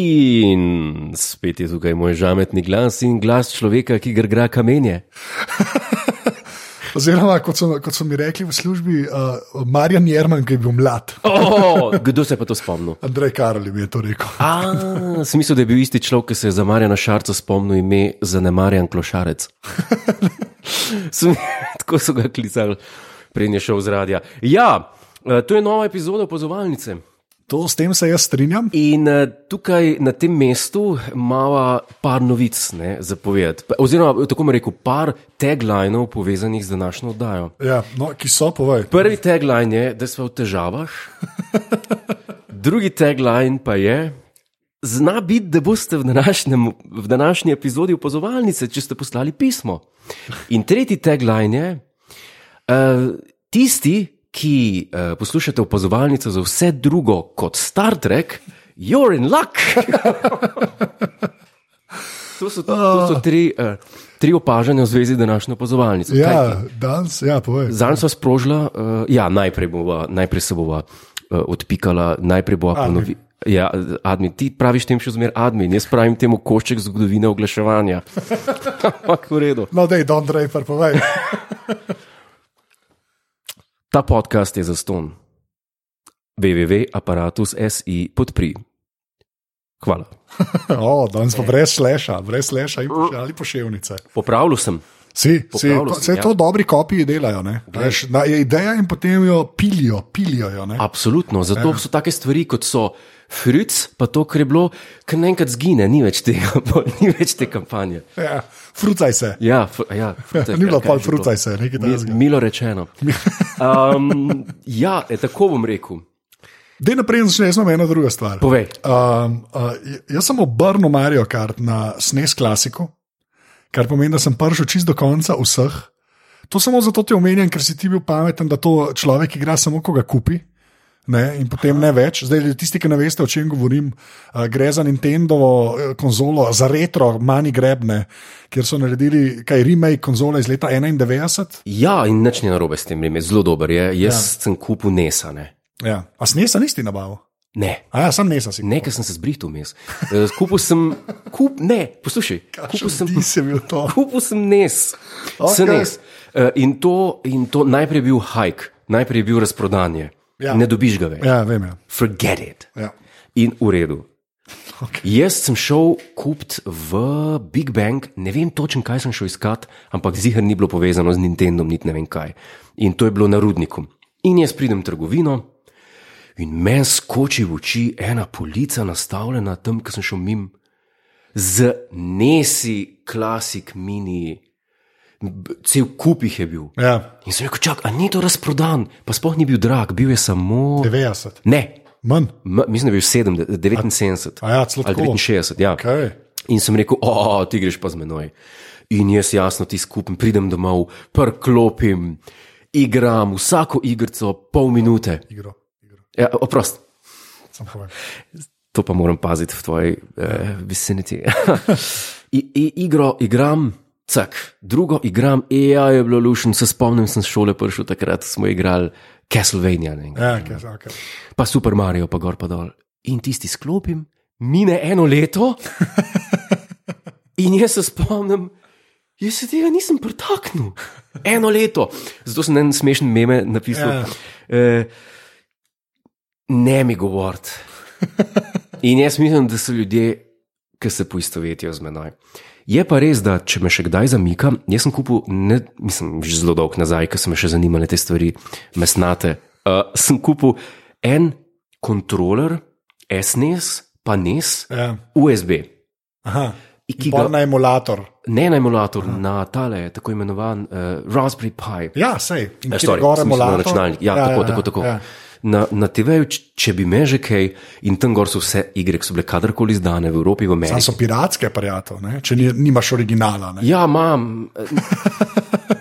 In spet je tukaj moj žametni glas in glas človeka, ki grgra kamenje. Oziroma, kot so, kot so mi rekli v službi, uh, Marjan Jerman, ki je bil mlad. Oh, kdo se je pa to spomnil? Andrej Karol mi je to rekel. A, sem mislil, da je bil isti človek, ki se je za Marjana Šarca spomnil ime Zanemarjan Klošarec. sem, tako so ga klicali, prednje šel z radia. Ja, eh, to je nova epizoda opazovalnice. To s tem se jaz strinjam. In eh, tukaj na tem mestu imamo par novic ne, za povedati. Pa- Oziroma, tako bom rekel, par taglinov povezanih z današnjo oddajo. Ja, no, ki so, povej. Prvi tagline je, da smo v težavah, drugi tagline pa je. Zna biti, da boste v, današnjem, v današnji epizodi opazovalnice, če ste poslali pismo. In tretji tagline je, uh, tisti, ki uh, poslušate opazovalnico za vse drugo kot Star Trek, you're in luck. to, so, to so tri, uh, tri opažanja v zvezi z današnjo opazovalnico. Kaj Ja, danes, ja, povej. Zanj sva sprožila, uh, ja, najprej, bova, najprej se bova uh, odpikala, najprej bova ponovila. Ja, admin, ti praviš tem še zmeraj admin, jaz pravim temu košček zgodovine oglaševanja. Ampak v redu. No, dej, Don Draper, povej. Ta podcast je za ston. www.apparatus.si podpri. Hvala. O, danes pa brez sleša, brez sleša in poš- ali poševnice. Popravljal sem. Si, si, Popravljal to, sem, se ja. to dobri kopiji delajo, ne? Veš, na, je ideja in potem jo pilijo, pilijo jo, ne? Absolutno, zato so take stvari kot so Fritz, pa to, kar je bilo, kar naenkrat zgine, ni več, tega, ni več te kampanje. Ja, frucaj se. Ja, fr, ja, frucaj, Ni bilo kaj pol je že to? frucaj se, nekaj Mi, takega. milo rečeno. Ja. Um, ja, e, tako bom rekel. Dej naprej, začne, jaz imam eno drugo stvar. Povej. Um, uh, j- jaz sem obrnil Mario Kart na SNES klasiko, kar pomeni, da sem prišel čist do konca vseh. To samo zato ti omenjam, ker si ti bil pameten, da to človek igra samo, ko ga kupi. Ne, in potem ne več. Zdaj, tisti, ki ne veste, o čem govorim, uh, gre za Nintendo konzolo, za retro, manj grebne, kjer so naredili kaj remake konzole iz leta 91. Ja, in nič ni narobe s tem, je zelo dober. Je. Jaz ja. sem kupil nesane. Ja. A snesa nisi nabavil? Ne. A ja, sem nesa si. Nekaj sem se zbritil vmes. E, Kupil sem, kup, ne, poslušaj, kupil sem, Ti si bil to. kupil sem nes. Okej. Okay. nes. E, In, to, in to najprej je bil hajk, najprej je bil razprodanje. Ja. Ja. Ne dobiš ga več. Ja. Ja, vem. Ja. Forget it. Ja. In v redu. Okay. Jaz sem šel kupiti v Big Bang, ne vem točno, kaj sem šel iskat, ampak zihar ni bilo povezano z Nintendom, niti ne vem kaj. In to je bilo na rudniku. In jaz pridem v trgovino in meni skoči v oči ena polica nastavljena tam, ki sem šel mim, z nesi, klasik, mini, b- cel kup jih je bil. Ja. In sem rekel, čak, a ni to razprodan, pa spoh ni bil drag, bil je samo. Ja. 90, Ne, manj. M- mislim, da je bil 7, 79 A ja, celo ali tako. 69. Ja. Kaj? In sem rekel, o, ti greš pa z menoj. In jaz jasno ti skupim, pridem domov, prklopim, igram vsako igrico pol minute. Igro, igro. Ja, oprost, Sam povem. to pa moram paziti v tvoji eh, viciniti. I, i, igro igram. Cak, drugo igram, EA je bilo lušen, se spomnim, sem z šole prišel takrat, smo igrali Castlevania. Ne, Ja, okay, okay. pa Super Mario, pa gor pa dol. In tisti sklopim, mine eno leto, in jaz se spomnim, jaz se tega nisem pretaknil. Eno leto. Zato sem en smešen meme napisal. Yeah. Eh, ne mi govoriti. In jaz mislim, da so ljudje, ki se poistovetijo z menoj. Je pa res, da če me še kdaj zamika, jaz sem kupil, ne, mislim, že zelo dolgo nazaj, ker so me še zanimale te stvari, mesnate. Uh, sem kupil en kontroler, SNES, pa E NES, ja. USB, Aha. ki Pol ga na emulator. ne na emulator, na tale, tako imenovan uh, Raspberry Pi. Ja, sej. Eh, In kjer sorry, je gor sem mislil na emulator? računalnik. Ja, ja, tako, ja, tako, tako. Ja. Ja. Na, na TV-ju, č- če bi me že kaj, in tam gor so vse igre, ki so bile kadarkoli izdane v Evropi, v Tam Ameriki. so piratske, prijatelj, ne? če ni, nimaš originala. Ne? Ja, imam, eh,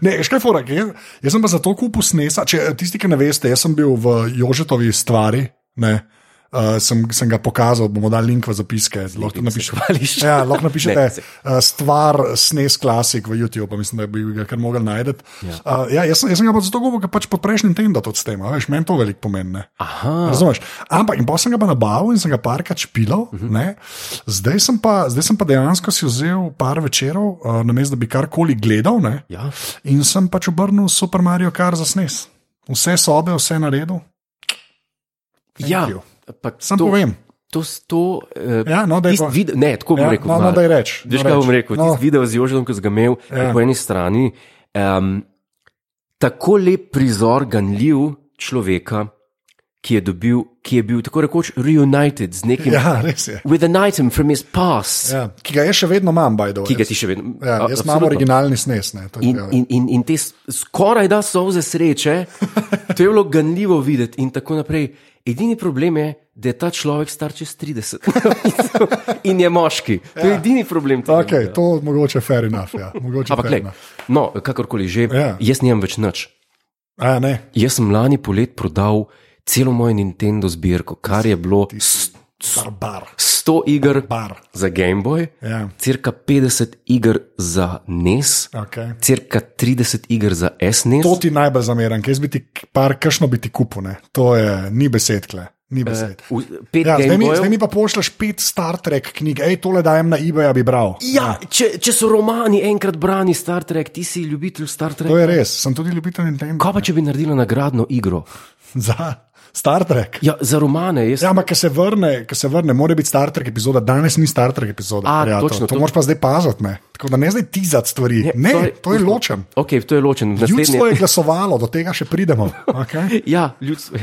Ne, veš kaj fora, jaz, jaz eh, sem pa zato kupil snesa. Če, tisti, ki ne veste, jaz sem bil v Jožetovi stvari, ne, Uh, sem, sem ga pokazal, bomo dali link v zapiske. Lahko tudi napišete. Hvališ? Ja, lahko napišete se- uh, stvar, snes klasik v YouTube, pa mislim, da bi ga kar mogli najti. Ja. Uh, ja, jaz, sem- jaz sem ga pa zato govoril, ker pač pod prejšnjim tednom da to s tem, a veš, meni to veliko pomeni. ne. Aha, Razumeš? Ampak in potem sem ga pa nabavil in sem ga parkrat špilal. Uh -huh. zdaj, sem pa, zdaj sem pa dejansko si vzel par večerov, uh, namesto da bi karkoli gledal. Ne? ja. In sem pač obrnil Super Mario kar za snes. Vse sobe, vse naredil. ja. you. ampak Sam to- to, povem. To, to, uh, Ja, no, daj tisti pa. vid- ne, tako bom Ja, rekel. no, no, malo. daj reč, no, Veš, kaj reč. bom rekel? No. No. Tisti video z Jožem, ki sem ga imel Ja. ja. po eni strani. Um, tako lep prizor ganljiv človeka, ki je, dobil, ki je bil tako rekoč reunited z nekim. Ja. Ja, res je. With an item from his past, ja. Ja, ki ga jaz še vedno imam, bajdo. ki ga ti še vedno. Ja, a- jaz imam absolutno. originalni snes. Ne, to, je- In, in, in, in te s- skoraj da so vse sreče, to je bilo ganljivo videti, in tako naprej. Edini problem je, da je ta človek star čez 30 in je moški. To Ja. je edini problem. tega videa. Okay, to je mogoče fair enough. Ja, mogoče Ampak, fair glej, enough. no, kakorkoli že, Ja. ja. jaz nimam več nič. A, ne, Jaz sem lani polet prodal celo mojo Nintendo zbirko, kar je bilo s- barbar. 100 iger Bar. za Game Boy, Ja, cirka 50 iger za NES, okay. cirka 30 iger za E SNES. To ti najbolj zameram, ker jaz bi ti k- par, kakšno bi ti kupil. Ne. To je, ni besed, kle, Eh, ni besed. V- Pet Ja, zdaj, Game mi, Boyov. zdaj mi pa pošleš pet Star Trek knjig, hej, tole dajem na eBay, ja bi bral. Ja, če, če so romani enkrat brani Star Trek, ti si ljubitelj Star To Treka. je res, sem tudi ljubitelj Nintendo. Kaj pa, če bi naredila nagradno igro? Za Star Trek. Ja, za romane, jaz Ja, ampak, ker se vrne, ker se vrne, mora biti Star Trek epizoda, danes ni Star Trek epizoda. A, prijatelj. točno, to to- moraš pa zdaj paziti, ne. Tako da ne zdaj tizati stvari. Ne, ne sorry, to je ločen. Okay, to je ločen. Ljudstvo Naslednje... je glasovalo, do tega še pridemo. Okay. Ja, ljudstvo.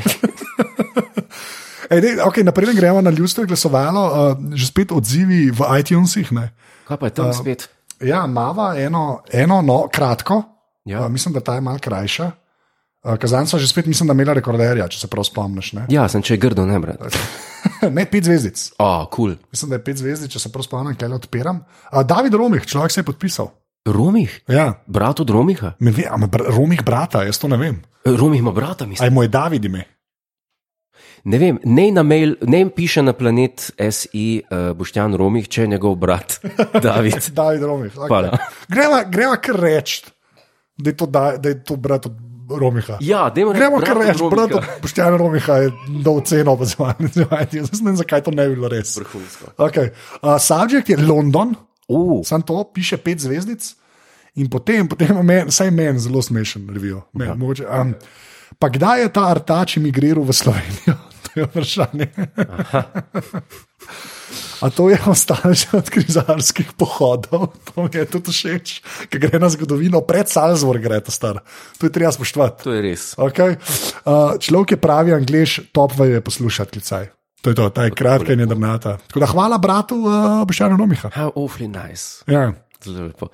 Ej, ne, okay, Naprej gremo na ljudstvo je glasovalo, uh, že spet odzivi v iTunesih. Ne. Kaj pa je tam spet? Ja, mava eno, eno no, kratko, ja. Ja, uh, mislim, da ta je malce krajša. Uh, Kazan so že spet, mislim, da imela rekorderja, če se prav spomniš. Ne, ja sem če je grdo, ne brat. ne pet zvezdic. A, kul. Cool. Mislim, da je pet zvezdic, če se prav spomnim, kaj odpiram. Uh, David Romih, človek se je podpisal. Romih? Ja. Brat od Romiha? Ne vem, ali ima br Romih brata, jaz to ne vem. Romih ima brata, mislim. Ali mu je David ime? Ne vem, ne na mail, ne piše na planet SI uh, Boštjan Romih, če je njegov brat David. David Romih. Okay. Hvala. Greva, greva kar reči, da, je to da, da je to brat od Romiha. Ja, dajmo reči, Gremo brat kar od reči, brat Romiha. od Boštjana Romiha je dal ceno v zvanici. Jaz ne vem, zakaj to ne bi bilo res. Vrhunsko. Okay. Uh, subject je London, Uh, sam to piše pet zvezdic in potem, potem men, saj meni zelo smešen revijo. Men, mogoče, um, pa kdaj je ta artač imigriral v Slovenijo? to je vprašanje. A to je ostalo še od krizarskih pohodov, to mi je tudi všeč, ker gre na zgodovino, pred Salzburg gre ta star. To je treba spoštovati. to je res. Okay. Uh, človek je pravi angliš, top vaju je poslušati, klicaj. To je to, ta je kratka in jedrnata. Tako da hvala bratu uh, Bošanu Nomiha. How awfully nice. Ja. Zelo lepo.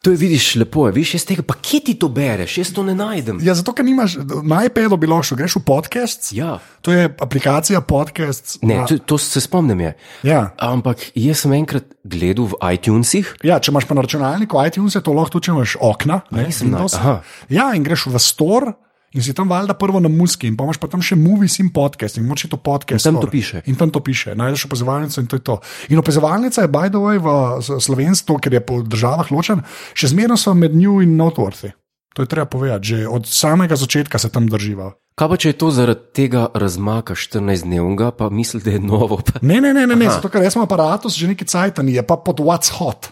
To je, vidiš, lepo je, vidiš, jaz tega, pa kje ti to bereš, jaz to ne najdem. ja, zato ker nimaš, na iPadu bi lahko šel, greš v podcast. Ja, To je aplikacija podcast. ne, na- to, to se spomnim je. ja. Ampak jaz sem enkrat gledal v iTunesih, Ja, če imaš pa na računalniku iTunes, to lahko tudi če imaš okna, ne, nisem naj- Windows. no, aha. Ja, in greš v store. In si tam valjda prvo na muski, in pa imaš pa tam še movies in podcast, in moče to podcast. In tam to store. piše. In tam to piše, najdeš opazovalnico in to je to. In opazovalnica je, by the way, v s- slovenstvu, ker je po državah ločen, še zmerno so med njo in noteworthy. To je treba povedati, že od samega začetka se tam drživa. Kaj pa, če je to zaradi tega razmaka 14-dnevnega, pa misli, da je novo? Pa... Ne, ne, ne, ne, ne zato ker jaz imam aparatus že neki cajtan, je pa pod what's hot.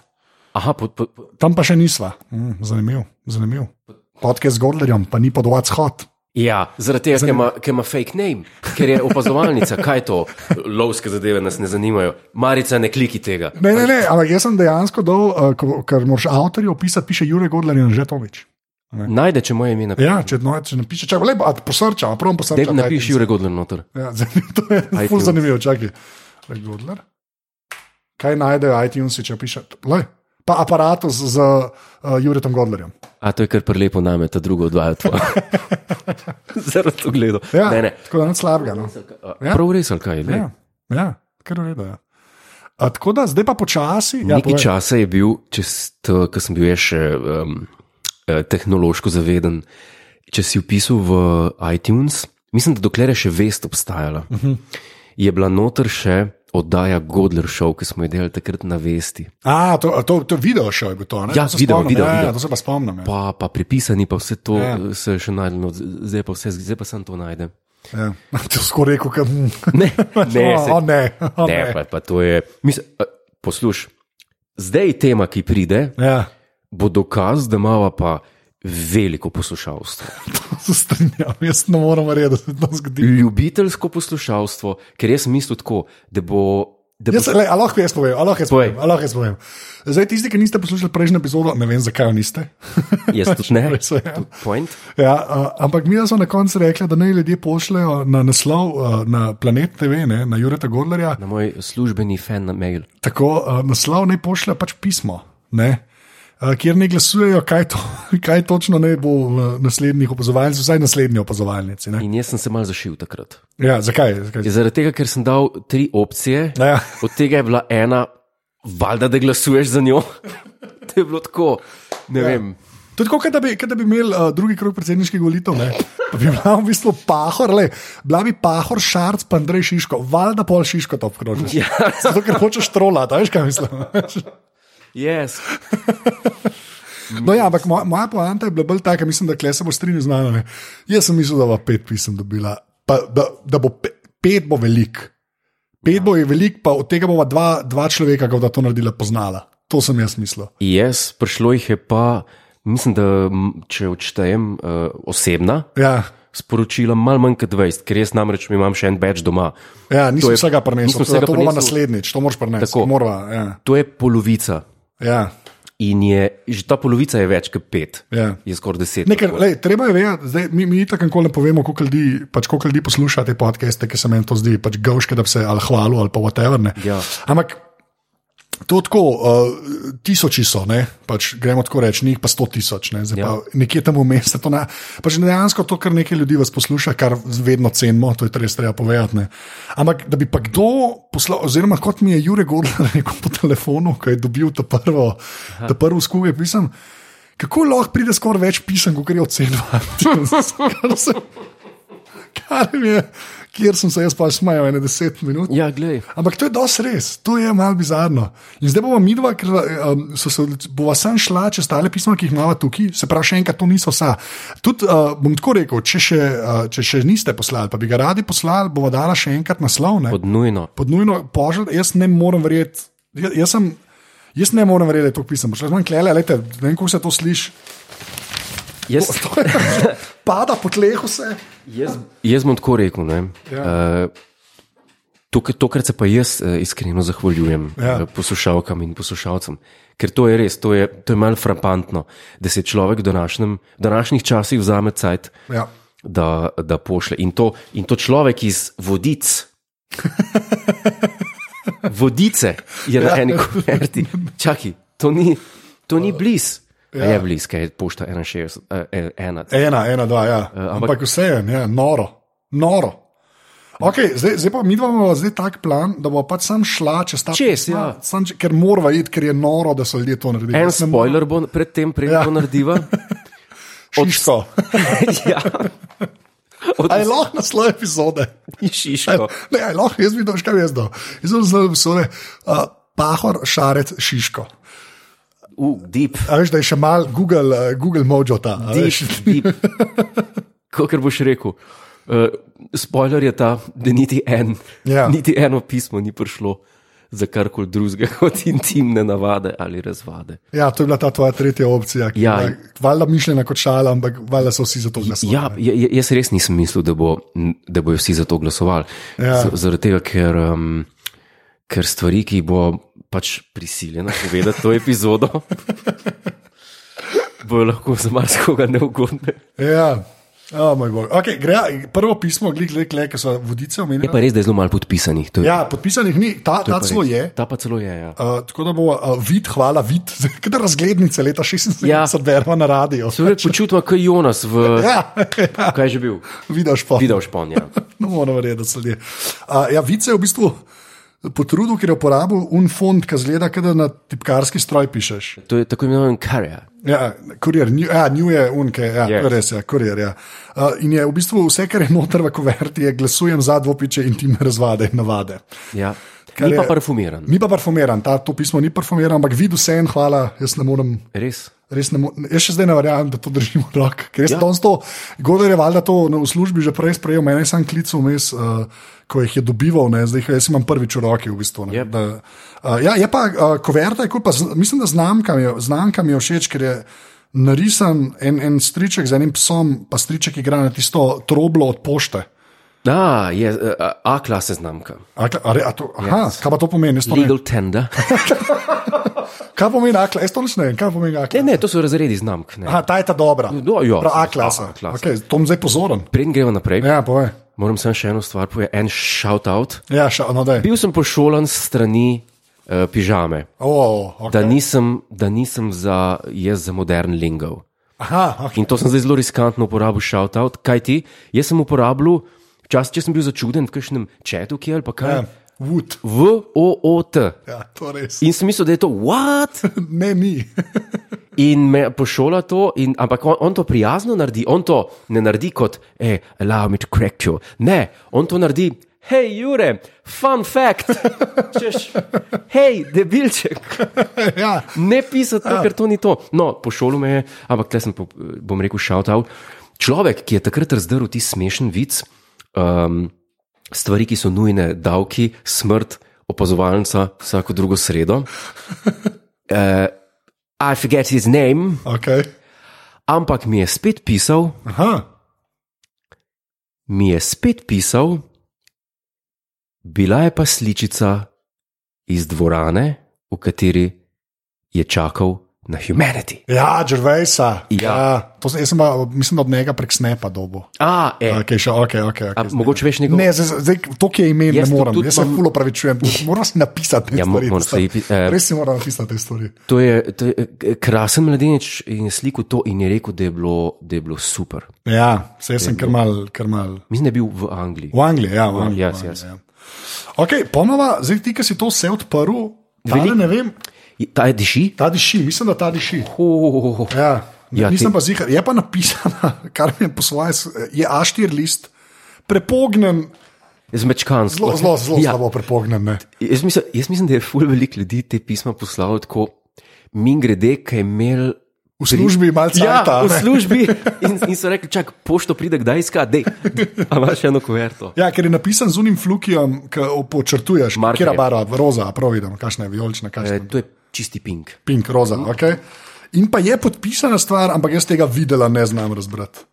Aha, pod, pod, pod... Tam pa še nisva. Mm, zanimiv, zanimiv. Podcast z Gordlerjem, pa ni pod What's Hot. Ja, zaradi tega, ker ima- ker ima fake name, ker je opazovalnica, kaj je to, lovske zadeve nas ne zanimajo, marica ne kliki tega. Ne, ne, ne, ampak jaz sem dejansko dol, eh, ko- ker moraš avtorju opisati, piše Jurek Gordler in že Tomič. Najde, če moje ime napiše. Ja, če, no, če napiše, če lepo, a posrča, a prvom posrča. Dej, napiši Jurek Godler noter. Ja, zanimivo, to je ful iTunes. zanimivo, čakaj. Jurek Gordler. Kaj najdejo iTunesi, če piše? Lej, pa aparatus z uh, Juretom Gordlerjem. A to je kar prelepo name, ta drugo odvaja tvoje. zaradi to gledal. Ja, Ne, ne. Tako da nič slabega. No. Ja. Prav res, ali kaj je? Ja, Ja, ja, kar ureda. Ja. A Tako da zdaj pa počasi. Ja, Nekaj povej. časa je bil, ko sem bil jaz še eh, um, tehnološko zaveden, če si upisal v iTunes, mislim, da dokler je še vest obstajala, uh Mhm. -huh. je bila noter še oddaja Godler Show, ki smo jo delali takrat na vesti. A, to, a to, to video še je bilo to, ne? Ja, to se video, spomnim, video, ja, ja, video. To se pa spomnim. Ja. Pa, pa prepisani, pa vse to Ja. ja. se je še najdemo, zdaj pa vse, zdaj pa sem to najdem. Ja. To skoraj rekel, kot Ne, ne, o, o, se, ne, o, No, ne. ne pa, pa to je. Mislim, eh, posluš, zdaj tema, ki pride, Ja, bo dokaz, da imamo pa veliko poslušalstvo. to se strinjam, jaz ne morem verjeti, da se to zgodi. Ljubiteljsko poslušalstvo, ker jaz mislim tako, da bo. Da bo Jaz, le, a lahko jaz povem, a lahko jaz Povej. povem, a lahko jaz povem. Zdaj, tisti, ki niste poslušali prejšnjo epizodo, ne vem, zakaj jo niste. jaz tudi ne. Res je, ja. Tudi Point. Ja, uh, ampak mi smo na koncu rekli, da naj ljudje pošljajo na naslov uh, na Planet TV, ne, na Jureta Gorlerja, Na moj službeni fan na mail. tako uh, naslov naj pošlje pač pismo, ne, uh, kjer ne glasujejo, kaj, to, kaj točno naj bo v naslednjih opazovalnicah, vsaj naslednji opazovalnici. Ne. In jaz sem se mal zašil takrat. Ja, zakaj? zakaj? Zaradi tega, ker sem dal tri opcije, Ja. od tega je bila ena, valjda, da glasuješ za njo. To je bilo tako, ne Ja. vem. To je tako, kot da bi, kot da bi imeli uh, drugi krog predsedniških volitev, ne? pa bi bila v bistvu pahor, le, bila bi pahor, šarc, pa Andrej Šiško, valjda pol Šiško to obkrožiš. Ja. Zato, ker hočeš trola, ta veš, kaj mislim. Yes. No, ja, ampak moja, moja poanta je bila bolj taka, mislim, da kle se bo strinil z nami. ne. Jaz sem mislil, da bo pet pisem dobila, pa, da, da bo pe, pet bo velik. Pet ja. bo je velik, pa od tega bova dva, dva človeka, ki bodo to naredila, poznala. To sem jaz mislil. Jaz, prišlo jih je pa, mislim, da m, če odštejem uh, osebna Ja, sporočila, malo manj kot 20, ker jaz namreč imam še en več doma. ja nisem je- je, vsega nisem prenesel, vsega vsega to bova prinesel. naslednjič, to moraš prenesti. Tako. Morva, ja. To je polovica ja. in je, že ta polovica je več kot pet, Ja. je skoraj deset. Nekaj, lej, treba je vedeti, zdaj, mi, mi tako nikoli ne povemo, koliko ljudi, pač, koliko ljudi posluša te podcaste, ki se meni to zdi pač gauške, da bi se ali hvalo ali pa whatever. ne. Ja. Ampak to tako, uh, tisoči so, ne? pač, gremo tako reči, njih pa sto tisoč, ne? Zdaj Ja. pa nekje tam vmes. se to Na, pač dejansko to, kar nekaj ljudi vas posluša, kar vedno cenimo, to je res treba povedati. Ne? Ampak da bi pa kdo poslal, oziroma kot mi je Jurek Gordon rekel po telefonu, ko je dobil to prvo, to prvo skupaj pisem. Kako lahko pride skoraj več pisem, kot je ocenjeno? Kar je, kjer sem se jaz pa smejal, ene deset minut. Ja, gledaj. Ampak to je dosti res, to je malo bizarno. In zdaj bomo mi dva, ker um, so se odloč- bova sam šla čez tale pisma, ki jih imamo tukaj, se pravi, še enkrat, to niso vsa. Tudi uh, bom tako rekel, če še, uh, če še niste poslali, pa bi ga radi poslali, bova dala še enkrat naslov. ne. Podnujno. Pod nujno požel, jaz ne morem verjeti. Jaz, jaz, sem- jaz ne morem verjeti, da je to pisem. Šla sem klele, lejte, ne vem, kako se to sliši. Jaz, To je, pada po tleh vse. jaz, jaz bom tako rekel. Ne, Ja. uh, to, k- to, kar se pa jaz uh, iskreno zahvaljujem Ja. ja. uh, poslušalkam in poslušalcem, ker to je res, to je, to je malo frappantno, da se človek v, današnjem, v današnjih časih vzame cajt, Ja. da, da pošle. In to, in to človek iz vodic. Vodice je Ja. na eni kuverti. Čakaj, to ni, to ni blizu. Ja. Je blizu, kaj je pošta 61, eh, ena. Ena, ena, dva, ja. Eh, ampak, ampak vseeno, ja, noro, noro. Okay, zdaj, zdaj pa mi dva imamo zdaj tak plan, da bo pač sam šla čez ta Čez, pisma, ja. sam, če- ker morava iti, ker je noro, da so ljudje to naredili. En spoiler bo predtem, preden Ja. ja. to narediva. Šiško. ja. Od Aj lahko naslov epizode. Šiško. Ne, aj lahko, jaz bi to še kaj jaz dal. Jaz sem zelo vesel. Uh, Pahor, šarec, šiško. Uh, deep, A veš, da je še mal Google, uh, Google Mojo ta. a deep, veš. deep. Kakor boš rekel. Uh, spoiler je ta, da niti, en, Ja. ja. niti eno pismo ni prišlo za karkoli drugega kot intimne navade ali razvade. Ja, to je bila ta tvoja tretja opcija. ki je Ja. bila Valjda mišljena kot šala, ampak valjda so vsi za to glasovali. Ja, j- j- jaz res nisem mislil, da, bo, da bojo vsi za to glasovali. Ja. Z- Zaradi tega, ker, um, ker stvari, ki jih bo pač prisiljena povedati to epizodo, bojo lahko za marsikoga neugodne. Ja, oh, moj bog. Okay, gre, prvo pismo, glej, glej, ki so vodice Je omenili. pa res, da je zelo malo podpisanih. to je- Ja, podpisanih ni, ta, to ta pa celo res. je. Ta pa celo je. Ja. Uh, tako da bo uh, vid, hvala, vid, kot razglednice leta 76, ja. Ja. berva na radio. Se več počutim kot Jonas v. Ja, ja, Kaj je že bil? vidiš pa. Videl ja. šponja. Eh, No, moram verjeti, da so ljudje. Uh, ja, vid se je v bistvu potrudil, ker je uporabil un fond, ki zgleda, kot da na tipkarski stroj pišeš. To je tako imenovan karja. Ja, kurir, nju, ja, nju je unke, ja, yes. Yes. res je, kurir. Ja. Uh, in je v bistvu vse, kar je noter v kuverti, je glasujem za dvopiče intimne razvade in navade. Ja. Kar Ni pa je- parfumiran, Ni pa parfumiran, ta, to pismo ni parfumiran, ampak vidi vse en hvala, jaz ne morem. res. Res ne morem, jaz še zdaj ne verjamem, da to držim v roki. Ker jaz Ja. danes to, Gordon je valjda to na- v službi že prej sprejel, meni je sam klic vmes, uh, ko jih je dobival, ne, zdaj jih jaz imam prvič v roki. V bistvu, ne, Yep. da, uh, ja, je pa uh, koverta, je kul, pa, z- mislim, da znamka mi je, znamka mi je všeč, ker je narisan en, en striček z enim psom, pa striček igra na tisto troblo od pošte. Da, je eh, A klase znamka. A, kla- a, re- a to, Ja. aha, yes. kaj pa to pomeni? Jaz To ne, Legal tender. kaj pomeni akla? Jaz to nič ne vem, kaj pomeni akla. Ne, ne, to so razredi znamk. Ne. Aha, ta je ta dobra. Ja. No, ja, Prav, A klasa. A klasa. Okay, to bom zdaj pozoren. Preden gremo naprej, Ja, povej. moram samo še eno stvar povedati, en shout out. Ja, še, no, daj. Bil sem pošolan s strani uh, pižame, Oh, okay. da nisem, da nisem za, jaz za modern lingov. Aha, okay. In to sem zdaj zelo riskantno uporabil, shout out, kaj ti? Jaz sem uporabljal, včasih če sem bil začuden v kakšnem četu, ki je ali pa kaj, ja, wood. V-O-O-T. Ja, to res. In sem mislil, da je to what? Ne, ni. In me pošola to, in, ampak on, on to prijazno naredi, on to ne naredi kot, hej, allow me to correct you. Ne, on to naredi, hej, Jure, fun fact, češ, hej, debilček, ja. ne pisati, to, ker to ni to. No, pošolo me je, ampak tle sem, po, bom rekel, shout out. Človek, ki je takrat razdrl ti smešen vic, um, stvari, ki so nujne, davki, smrt, opazovalnica, vsako drugo sredo. Uh, I forget his name Okay. ampak mi je spet pisal, Aha. mi je spet pisal, bila je pa sličica iz dvorane, v kateri je čakal na humanity. Ja, Gervaisa. Ja. to, se- jaz sem, pa, mislim, da od njega prek snepa dobo. A, e, Okay, še, okay, a, okay, okay, mogoče veš nekaj? Ne, zdaj, zdaj, to, ki je ime, ne Jaz tudi- morem. tudi Jaz se imam- pulo pravičujem. Tudi Moram si napisati te Ja, mo- stvari. moram mislim. si, eh, Res si moram napisati te stvari. To je, to je eh, krasen mladenič in je slikal to in je rekel, da je bilo, da je bilo super. Ja, se jaz sem kar mal, kar mal. Mislim, da je bil v Angliji. V Angliji, ja, v Angliji. eh, ja, v si Angliji, ja. Okay, ponova, zdaj ti, ki si to vse odprl, tale, ne vem, I- Ta je diši? ta diši, mislim, da ta diši. Oh, Ja, ja, Ja, nisem ti- pa zihar, je pa napisana, kar mi je poslal, je A4 list, prepognen, Zmečkansko. zelo, zelo, zelo ja. pač ja, slabo prepognen. Ne. Jaz mislim, jaz mislim, da je ful veliko ljudi te pisma poslalo tako, min grede, ki je imel. V službi malce Ja, cajta, v ne. službi in, in so rekli, čak, pošto pride kdaj iskat, dej, a imaš še eno kuverto. Ja, ker je napisan z unim flukijem, ki počrtuješ, Markerjem. kje je barva, roza, prav vidim, kakšna je vijolična, kakšna E, je to je čisti pink. pink, roza. Okay. In pa je podpisana stvar, ampak jaz tega videla ne znam razbrati.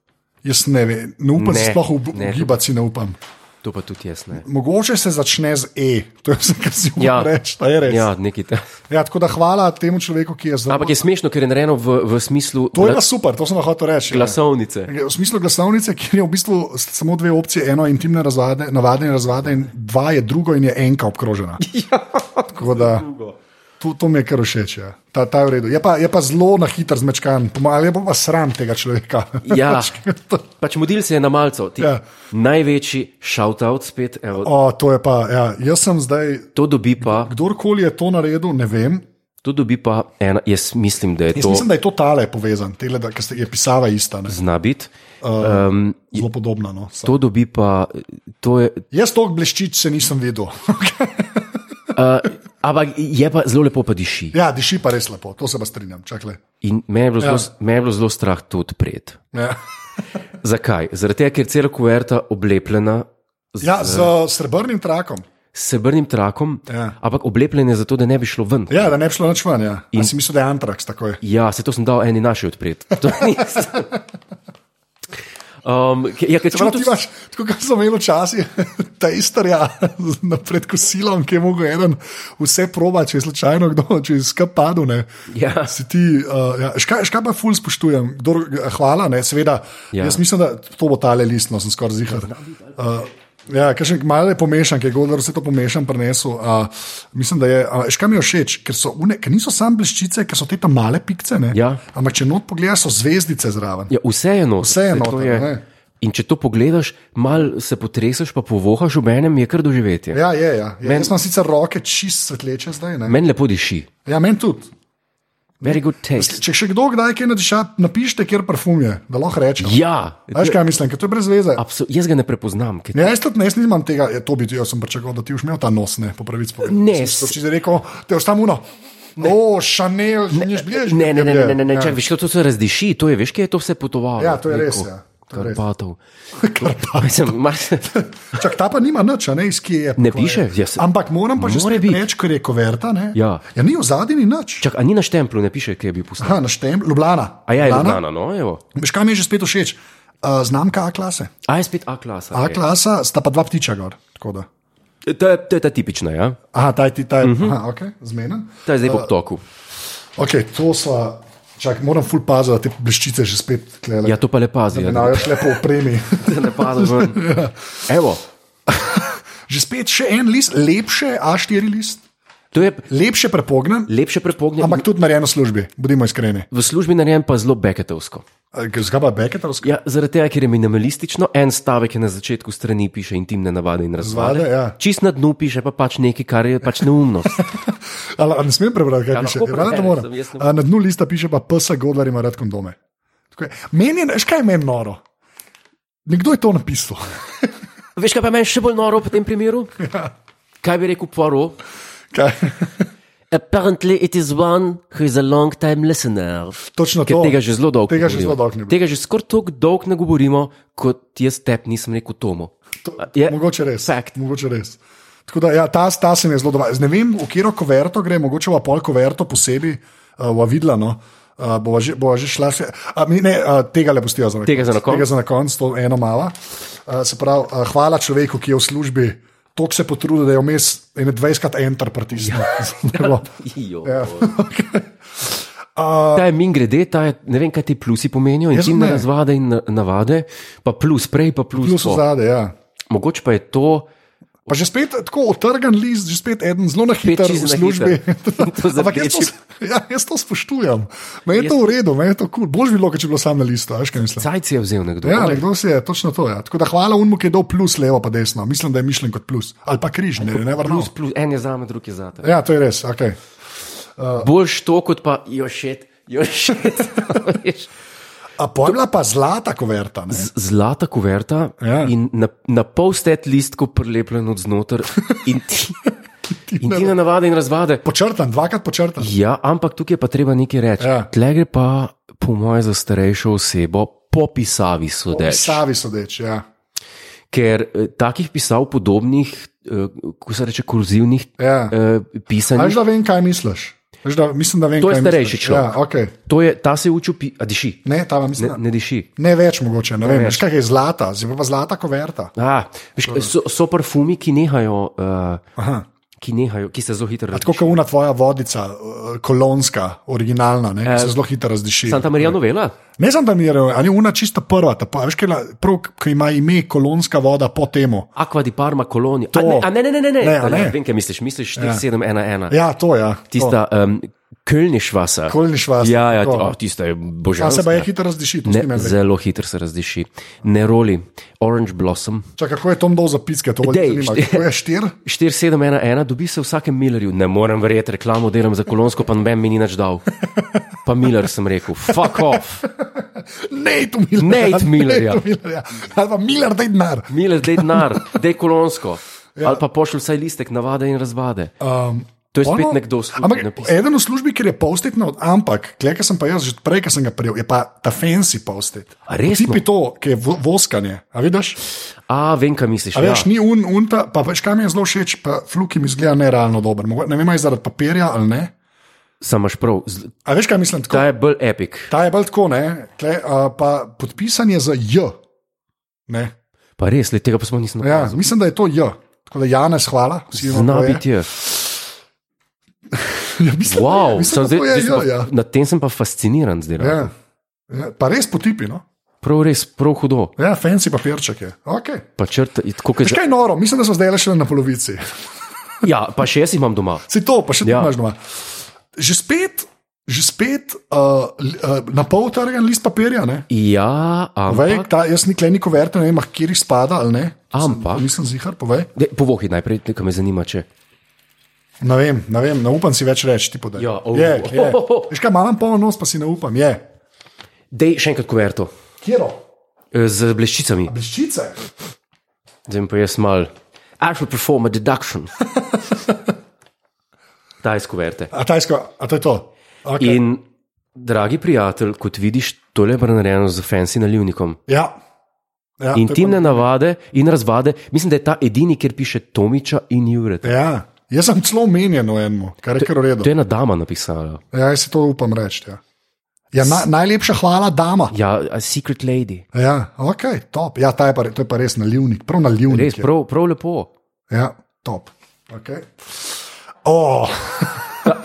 Jaz ne vem, ne upam, Ne, ne, sploh ne. ugibati si ne upam. To pa tudi jaz ne. Mogoče se začne z E, to je vse, kar si Ja. ja. reče, to je res. Ja, Ja. nekaj ta. Ja, tako da hvala temu človeku, ki je zdaj. Ampak je smešno, ker je narejeno v, v smislu To je gla- pa super, to sem pa hotel reči. ja. glasovnice. V smislu glasovnice, kjer je v bistvu s- samo dve opcije, eno je intimne razvade, navadne razvade, in dva je drugo in je enka obkrožena. Tako da, to, to mi je kar všeč, ja. ta, ta je v redu. Je pa, je pa zelo na hitro zmečkan, pomalo je pa sram tega človeka. Ja. Pač modil se je na malco. Ti, Ja. ja. Največji shout-out spet, evo, o, to je pa, ja, jaz sem zdaj, to dobi pa, kdorkoli je to naredil, ne vem. to dobi pa ena, jaz mislim, da je Jaz to mislim, da je to tale povezan, tele, da, ker ste- je pisava ista, ne. zna biti. zelo podobna. No. Sa- To dobi pa, to je, Jaz toliko bleščic se nisem videl. Uh, ampak je pa zelo lepo, pa diši. ja, diši pa res lepo, to se pa strinjam, čakle. In meni je bilo zelo, Ja. ja. me je bilo zelo strah to odpreti. Ja. Zakaj? Zaradi tega, ker je cela kuverta oblepljena z Ja, z srebrnim trakom. srebrnim trakom, Ja. ampak oblepljena je zato, da ne bi šlo ven. Ja, da ne bi šlo nič ven. Ja. In si mislil, da je antraks takoj. Ja, se to sem dal eni naši odpreti. To nisem. Um, ke- ja, ker Prav, čutim, ti imaš, tako kot sem imel včasih, ta istarja pred kosilom, ki je mogel en vse proba, če je slučajno kdo, če je skapadu. Ja. Si ti, uh, ja, škaj, škaj pa ful spoštujem, Kdor, eh, hvala, ne, seveda. Ja. Ja. Jaz mislim, da to bo tale list, no sem skoraj zihar. Uh, Ja, kakšen malo je pomešan, ki je Gondor vse to pomešan prenesel. Uh, mislim, da je, uh, škaj mi je všeč, ker, so une, ker niso samo bleščice, ker so te tam male pikce, ne? Ja. ampak če not pogledaš, so zvezdice zraven. ja, vse je nos. Vse je Saj to noter, ne. In če to pogledaš, mal se potreseš, pa povohaš, v enem je kar doživetje. Ja, je, ja. je. Men... Jaz imam sicer roke čist svetleče zdaj. Ne? Meni lepo diši, Ja, meni tudi. very good taste. Če še kdo kdaj kaj nadiša, napišite, kjer parfum je, da lahko rečem. Ja, Veš kaj mislim, ker to je brez veze. absolutno, jaz ga ne prepoznam. ker- Ja, jaz tudi ne, jaz nimam tega, je, to bi ti, jaz sem pričakoval, da ti už imel ta nos, ne, po pravici povedano. Ne, Sem si to čisto rekel, te ostam uno. O, Chanel, že neš bližnjiš. Ne, ne, ne, ne, ne, ne, ne. čak, veš, kako to se razdiši, to je, veš, kje je to vse potovalo. Ja, to je Preko res, ja. To je res. Karpatov. Karpatov. Mislim, mar, Čak, ta pa nima nič, a ne, iz kje je. Ne piše, pokvarjen. jaz- Ampak moram pa že More spet biti. reči, ker je koverta, ne. Ja. ja ni v zadini nič. čak, a ni na štemplu, ne piše, kje je bil poslan. Aha, naštem, Ljubljana. A ja, je Ljubljana, no, evo. Veš, kaj mi je že spet všeč? Uh, znamka A klase. A je spet A klasa. ej. A klasa sta pa dva ptiča gor. tako da. To je, to je ta tipična, ja? Aha, taj ti, taj, Mhm. uh -huh. aha, ok, zmeden. To je zdaj po toku. Ok, to sva, čak, moram ful paziti, da te bleščice že spet klele. Ja, to pa le pazi. Ja, da Najo šle po opremi. da ne pade ven. Ja. Evo, že spet še en list, lepše A4 list, to je lepše prepognen, lepše prepognjen, ampak tudi narejeno v službi, bodimo iskreni. v službi narejen pa zelo beketovsko. Zgaba beketovske Ja, zaradi tega, ker je minimalistično, en stavek je na začetku strani piše intimne navade in razvade. zvade. Ja. Čist na dnu piše pa pač nekaj, kar je pač neumnost. Ali a ne smem prebrati, kaj Ja, piše? lahko Ja, da preberem, moram. sem jaz ne- A, Na dnu lista piše pa psa Godvar ima rad kondome. Tako je. Meni je, veš, kaj je meni noro? Nekdo je to napisal. Veš, kaj pa je meni še bolj noro v tem primeru? Kaj bi rekel Poirot? Kaj? Apparently it is one who is a long time listener. Točno Ker to. tega že zelo dolgo Tega že govorijo. zelo dolgo ne bi. Tega že skoraj tako dolgo ne govorimo, kot jaz tep nisem rekel Tomu. To, Je- je, mogoče res. fact. Mogoče res. Tako da, ja, ta, ta se mi je zelo dobro. Ne vem, v katero koverto gre, mogoče v pol koverto posebej, uh, v vidla. No. Uh, bova, že, bova že šla, še, a, mi, ne, uh, tega le pustijo za na konec. Tega za na konec. Tega za na konec, to eno mala. Uh, se pravi, uh, hvala človeku, ki je v službi toliko se potrudil, da je vmes 21krat enter pritisnil. Ja. Ijo. ja. Ta je min grede, ta je, ne vem, kaj ti plusi pomenijo, Jaz intimne ne. razvade in na- navade, pa plus prej, pa plus, Plus po. zadaj, ja. Mogoče pa je to, Pa že spet tako otrgan list, že spet eden zelo na hitro Peči v za na službi. hitro. In to za Ampak jaz to, peči. ja, jaz to spoštujem. Me je to v redu, me je to kul. Cool. Bož bi bilo, če bi bilo sam na listu, a veš kaj mislim. cajc je vzel nekdo. Ja, nekdo si je točno to. Ja. Tako da hvala unmu, ki je dal plus levo, pa desno. Mislim, da je mišljen kot plus. Ali pa križ, ne, ne, vrno. plus, plus, en je za me, drugi je za te. Ja, to je res. Okay. Ja. Boljš to, kot pa jošet, jošet. veš. A pa je bila pa zlata koverta. ne? Z- Zlata kuverta Ja. in na, na pol stet listko prilepljen od znotraj in ti. Intimne navade in razvade. Počrtan, dvakrat počrtan. Ja, ampak tukaj je pa treba nekaj reči. Ja. Tle gre pa, po mojem, za starejšo osebo, po pisavi sodeč. Savi sodeč. Ja. Ker eh, takih pisav, podobnih, eh, ko se reče, kurzivnih eh, Ja. Veš, pisanj, da vem, kaj misliš. Veš, da, mislim, da vem, To je kaj starejši misliš. človek. Ja, okay. to je, ta se je učil, pi- a diši, Ne, ta ne, vam mislim. ne diši. Ne več, mogoče. Ne, ne vem, veš, kaj je zlata, zdaj pa zlata koverta. A, veš, Torej. so, so parfumi, ki nehajo, eh, Aha. ki nehajo, ki se zelo hitro Tako razvijajo. kot una tvoja vodica, eh, kolonska, originalna, ne, Eh, ki se zelo hitro razdiši. Santa Maria novela? Ne znam, da mi je rekel, ali una čista prva, ta pa, veš, kaj, la- prav, ki ima ime kolonska voda po temo. Aqua di Parma, kolonija. To. A ne, ne, ne, ne, ne, Ne, a ne? ne. Vem, kaj misliš, misliš 4711. Ja, to je. Ja, Tista um, Kölnišvasa. Kölnišwasser, Ja, ja, ti, to. oh, tista je Ta Ja, se božanska. pa je hitro razdiši, to Ne, ne vem. zelo hitro se razdiši. Neroli, Orange Blossom. Čakaj, kako je Tom dol za piske, to Dej, je štir- Kako je štir? 4711, dobi se v vsakem Millerju. Ne morem verjeti, reklamo delam za kolonsko, pa noben mi ni nič dal. Pa Miller sem rekel, fuck off. Ne, to Miller. ja. Nate ja. Millerja. Ali pa Miller, daj denar. Miller, dej denar, dej kolonsko. Ja. Ali pa pošlj vsaj listek navade in razvade. Um, To je spet nekdo v službi Ampak napisal. eden v službi, ker je postet, no, ampak kleka sem pa jaz že prej, ker sem ga prijel, je pa ta fancy postet. A no? resno? Tipi to, ki je vo- voskanje, a vidiš? A, vem, kaj misliš. A ja. veš, ni un, un ta, pa veš, kaj mi je zelo všeč, pa fluki mi zgleda nerealno dober. Mogo- Ne vem, ali je zaradi papirja ali ne. Sam imaš prav, z- A veš, kaj mislim tako? ta je bolj epik. Ta je bolj tako, ne? Tle, a, pa podpisan je za J. Ne? Pa res, le tega pa smo nismo. Ja, mislim, da je to J. Tako da Janes, hvala. vsi vemo, Zna kdo je. biti je. Ja, mislim, da je- Wow, mislim, sem da zdaj, to je zdaj sem J. pa, Ja. na tem sem pa fasciniran zdaj. Ja. Ja. Ja, pa res potipi, no? Prav res, prav hudo. Ja, fancy papirček je. Okay. Pa črt, tako kot Veš že. kaj je noro, mislim, da smo zdaj le še na polovici. Ja, pa še jaz imam doma. Si to, pa še ti Ja. imaš doma. Že spet že spet uh, li- uh, na pol utrgan list papirja. Ne? Ja, Povej, ampak. ta, jaz nikoli nikoli verte, ne vem, a kjer jih spada ali ne. Ampak- Sem, nisem zihar, povej. Daj, Povohi najprej, nekaj me zanima, če. Ne vem, ne vem, ne upam si več reči, ti podaj. Ja, oh. je, je. Veš kaj, imam poln nos, pa si ne upam, je. Dej še enkrat kuverto Kjero? eh, z bleščicami, Bleščice. zdaj bom pa jaz mal. I shall perform a deduction. Daj iz kuverte. A, tajsko, a to je to. Okay. In, dragi prijatelj, kot vidiš, tole je bilo narejeno z fancy nalivnikom. Ja. ja to je Intimne navade in razvade, mislim, da je ta edini, kjer piše Tomiča in Jureta. pa- Ja. Jaz sem celo omenjen v enem, kar je kar To v redu. je ena dama napisala. Ja, jaz si to upam reči. Ja. Ja, na, najlepša hvala, dama. Ja, a secret lady. Ja, ok, top. Ja, ta je pa, re- to je pa res nalivnik, prav nalivnik. Res, je. prav, prav lepo. Ja, top. Okay. Oh,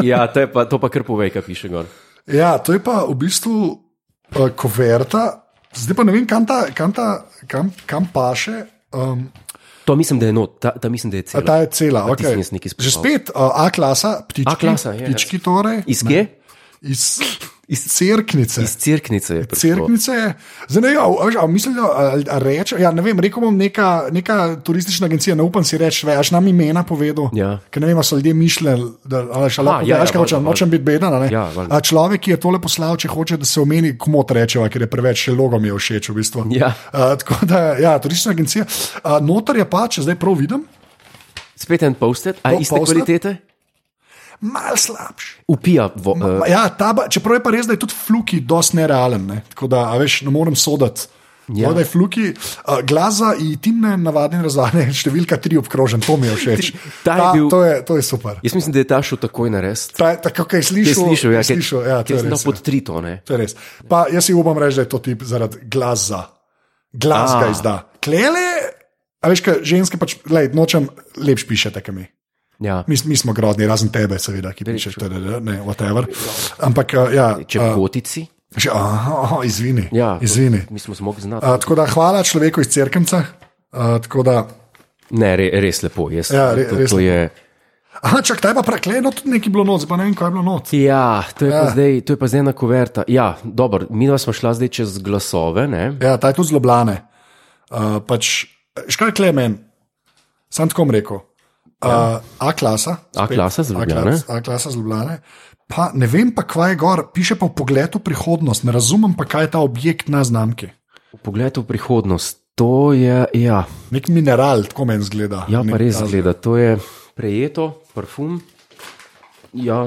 Ja, to, je pa, to pa kar povej, kaj piše gor. ja, to je pa v bistvu uh, koverta, zdaj pa ne vem, kam, ta, kam, ta, kam, kam paše. Um, To mislim, da je not, ta, ta mislim, da je a ta cel. je cela, Pa ti okay. si jaz nekaj izpustil. že spet uh, A-klasa, ptički, A-klasa, je, ptički torej, Iz kje? iz, iz cerknice. Iz crknice je prišlo. Cerknice je, zdaj ne vem, a- a veš, a mislim, da a- a reče. Ja, ne vem, rekel bom neka, neka turistična agencija, ne upam si reči, veš, nam imena povedal. Ja. Ker ne vem, a so ljudje mišljeni, da a veš, a ja, lahko ja, ja, ja, hočem, valjda, nočem biti beden. a ne. Ja, valjda. a človek, ki je tole poslal, če hoče, da se omeni, komot rečeva, ker je preveč še logo mi je všeč v bistvu. Ja. A, tako da, ja, turistična agencija. A, notar je pa, če zdaj prav vidim, Spet en postet, a Po- iste post-it? kvalitete? mal slabši. Upija. Vo, uh, Ma Ja, ta ba, čeprav je pa res, da je tudi fluki dosti nerealen. Ne? Tako da, a veš, ne morem soditi. Ja. Da je fluki, uh, glaza in timne navadne razvane, številka tri obkrožen, to mi je všeč. Ta je bil- to, je, to je super. jaz mislim, da je ta šel takoj na res. Ta, tako, kaj Ti slišiš, si slišal, ja, ker- slišal, ja, to ker je sem dal res. pod tri tone. To je res. Pa jaz si upam reči, da je to tip zaradi glasa. Glas Ah. ga izda. Klele, a veš, kaj ženske pač, lej, nočem, lepš pišete, kam mi. Ja. Mi, mi smo grozni, razen tebe, seveda, ki pišeš, TDD, ne, whatever. Ampak, uh, ja. Če uh, kotici. Že, aha, aha, izvini. Ja, to- izvini. Mi smo zmogli znati. A, tako da hvala človeku iz Cerkvenca. A, tako da, Ne, re, res lepo. Jaz, Ja, re- to, res to je, aha, čak, taj pa prekleno, tudi nekaj bilo noč, pa ne vem, kaj je bilo noč. ja, to, je ja. Ja. Zdaj, to je pa zdaj ena kuverta. Ja, dobro, mi dva smo šla zdaj čez glasove. Ne? Ja, taj tudi zelo blane. Uh, pač, škaj kle meni, sam tako bom rekel. Uh, A klasa. Ja. A spet, klasa z A Ljubljane. klas- A klasa z Ljubljane. Pa ne vem pa, kaj je gor, piše pa v pogledu prihodnost, ne razumem pa, kaj je ta objekt na znamki. Pogled v prihodnost, to je, ja, Nek mineral, tako meni zgleda. ja Nek pa res ta- zgleda, to je prejeto, parfum. Ja,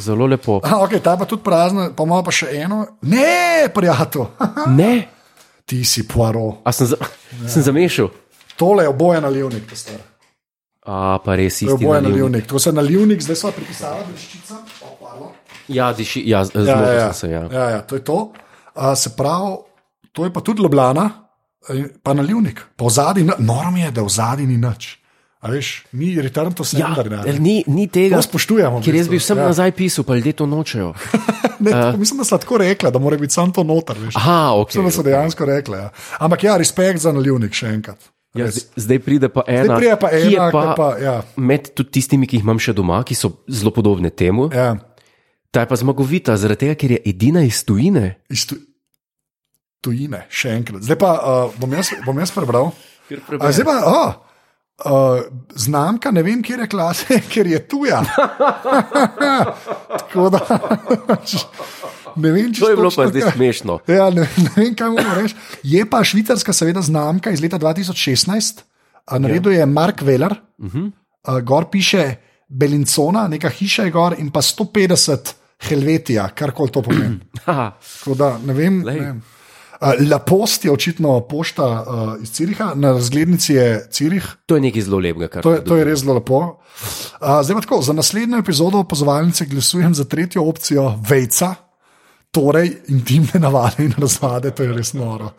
zelo lepo. Aha, ok, ta je pa tudi prazna, pa ima pa še eno. Ne, prijatelj. Ne, ti si poaro. a sem, za, Ja. sem zamešal. Tole je oboje nalivnik, to star. A pa res To je isti. oboje naliv. nalivnik. To se nalivnik, zdaj smo pripisali vrščica, opadlo. Ja, diši, ja, z- Ja, zmogel ja, sem se. Ja. ja, ja, to je to. A, se pravi, to je pa tudi Ljubljana, eh, pa nalivnik. Pa v zadnji, norm je, da v zadnji ni nič. A veš, ni return to Ja, sender. Ja, ni, ni tega, To spoštujemo. v ker jaz bi bistvu. vsem ja. nazaj Eh. pisal, pa ljudje to nočejo. Ne, tako, mislim, da sta tako rekla, da mora biti samo to noter. Veš. Aha, ok. Mislim, da so dejansko rekla. Ja. Ampak ja, respekt za nalivnik še enkrat. Ja, Res. zdaj, zdaj pride pa ena, Zdaj prije pa ki je ena, pa, pa, pa, ja, med tudi tistimi, ki jih imam še doma, ki so zelo podobne temu. Ja. ja. Ta je pa zmagovita, zaradi tega, ker je edina iz tujine. iz tu, tujine, še enkrat. Zdaj pa uh, bom, jaz, bom jaz prebral. A, zdaj pa, oh, uh, znamka, ne vem, kje je klase, ker je tuja. Tako da ne vem, če To je bilo točno pa zdaj kaj. smešno. Ja, ne, ne vem, kaj moram reči. Je pa švicarska, seveda, znamka iz leta 2016, a naredil je Mark Veller, uh -huh. gor piše Belincona, neka hiša je gor in pa 150 Helvetija, karkoli to pomeni. Haha. Tako da ne vem. Ne Glej. vem. Uh, La Post je očitno pošta uh, iz Ciriha, na razglednici je Cirih, To je nekaj zelo lepega, kar to je, to je res zelo lepo. Uh, zdaj pa tako, za naslednjo epizodo opozovalnice glasujem za tretjo opcijo Vejca, torej intimne navade in razvade, to je res noro.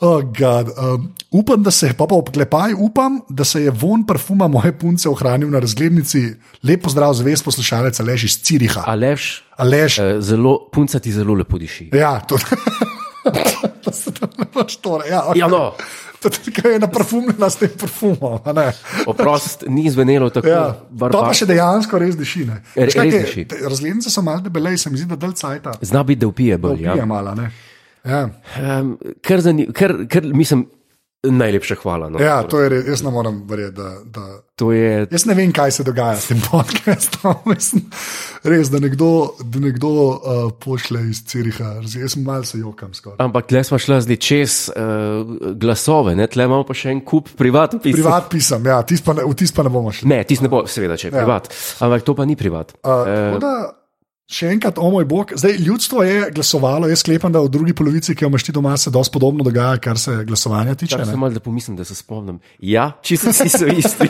Oh, God. um, upam, da se je, pa pa obklepaj, upam, da se je von parfuma moje punce ohranil na razglednici. Lep pozdrav, zvest poslušalec, Aleš iz Ciriha. Aleš, Aleš, eh, zelo, punca ti zelo lepo diši. Ja, to, to se tam ne moreš torej. Ja, okay. Ja, no. Tako je naprafumljena s tem parfumom. a ne. Oprost ni zvenelo tako Ja. To pa še barbarsko. dejansko res diši. ne. Re- Veš, kaj E, res je, diši. te Razglednice so malce debele, se mi zdi, da del cajta. Zna biti, da upije bolj. Ja. Ja, mala, ne. Ja. Um, kar, zani- kar, kar mislim, najlepša hvala. No. ja, to je res, jaz ne morem verjeti, da, da To je Jaz ne vem, kaj se dogaja s tem podcastom. Mislim, Res, da nekdo, da nekdo uh, pošle iz Ciriha, Res, jaz sem malce jokam skoraj. Ampak tle smo šli zdaj čez uh, glasove, ne? tle imamo pa še en kup privat pisem. Privat pisem, ja, tis pa ne, v tisto pa ne bomo šli. Ne, tisti ne bo, seveda, če je Ja. privat. Ampak to pa ni privat. Uh, tako da, še enkrat, o moj bog, zdaj ljudstvo je glasovalo, jaz sklepam, da v drugi polovici, ki jo imaš ti doma, se dosti podobno dogaja, kar se glasovanja tiče. Če ne. sem malo, da pomislim, da se spomnim. Ja, čisto vsi so isti.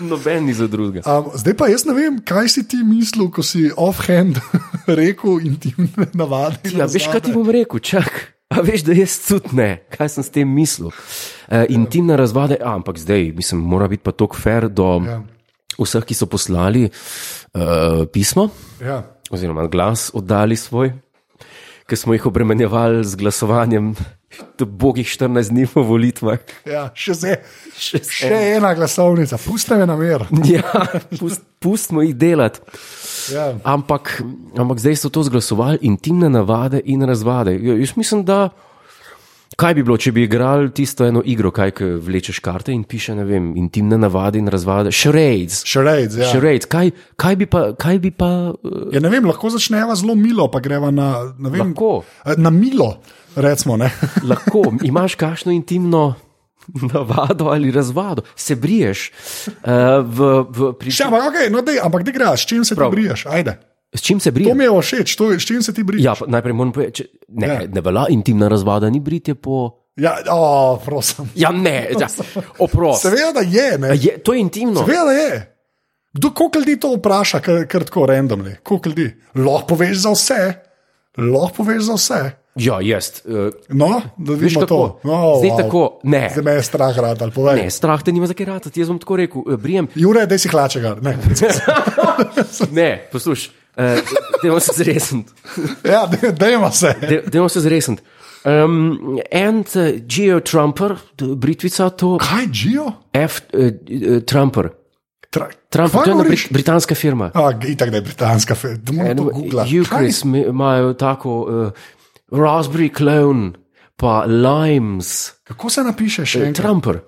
Noben ni za drugega. Um, zdaj pa jaz ne vem, kaj si ti mislil, ko si offhand rekel intimne navade. in Ja, veš, kaj ti razvade. bom rekel, čak. A veš, da jaz cutne, kaj sem s tem mislil. Uh, intimne razvade, a, ampak zdaj, mislim, mora biti pa tako fair do Ja. vseh, ki so poslali uh, pismo. Ja. oziroma glas oddali svoj, ki smo jih obremenjevali z glasovanjem, do bogih 14 dni po volitvah. Ja, še, zdaj, Še še ena glasovnica, pusti me na mer. Ja, pust, pustimo jih delati. Ja. Ampak, ampak zdaj so to zglasovali intimne navade in razvade. Ja, Jaz mislim, da. Kaj bi bilo, če bi igrali tisto eno igro, kaj ke vlečeš karte in piše, ne vem, intimne navade in razvade, charades. Charades, ja. Charades. Kaj, kaj bi pa, kaj bi pa uh, Ja, ne vem, lahko začneva zelo milo, pa greva na, ne vem, Lahko. Eh, na milo, recimo. Ne? lahko imaš kakšno intimno navado ali razvado, se briješ. Uh, v, v, pri... Še, ampak, okay, no, dej, ampak da greš, s čim se ti briješ, ajde. S čim se To briješ? mi je všeč, to, je- s čim se ti briješ. Ja, pa najprej moram povedati, če- ne, Ja. ja. ne velja intimna razvada, ni britje po. Ja, o, prosim. Ja, ne, ja, oprosti. Seveda da je, ne. Je, to je intimno. Seveda da je. Kdo, koliko ljudi to vpraša, kar, kar tako randomni, koliko ljudi? Lahko poveš za vse, lahko poveš za vse. Ja, jaz. Uh, No, da veš vidimo tako? to. No, Zdaj wow. tako, ne. Zdaj me je strah, rad ali povej. Ne, strah te nima za kaj ratati. Jaz bom tako rekel, eh, brijem. Jure, da si hlače gar. Ne. Ne, poslušaj, eh, dajmo se zresen. Ja, dajmo se. Dajmo se zresen. Um, and uh, Geo Trumper, Britvica, to Kaj, Gio? F. Uh, uh, Trumper. Tra, Trump, Kaj to je ena govoriš? brit, britanska firma. A, itak da je britanska, fe- da moramo to googlati. Ukris imajo tako uh, raspberry clone, pa limes, Kako se napiše še enkrat? Trumper.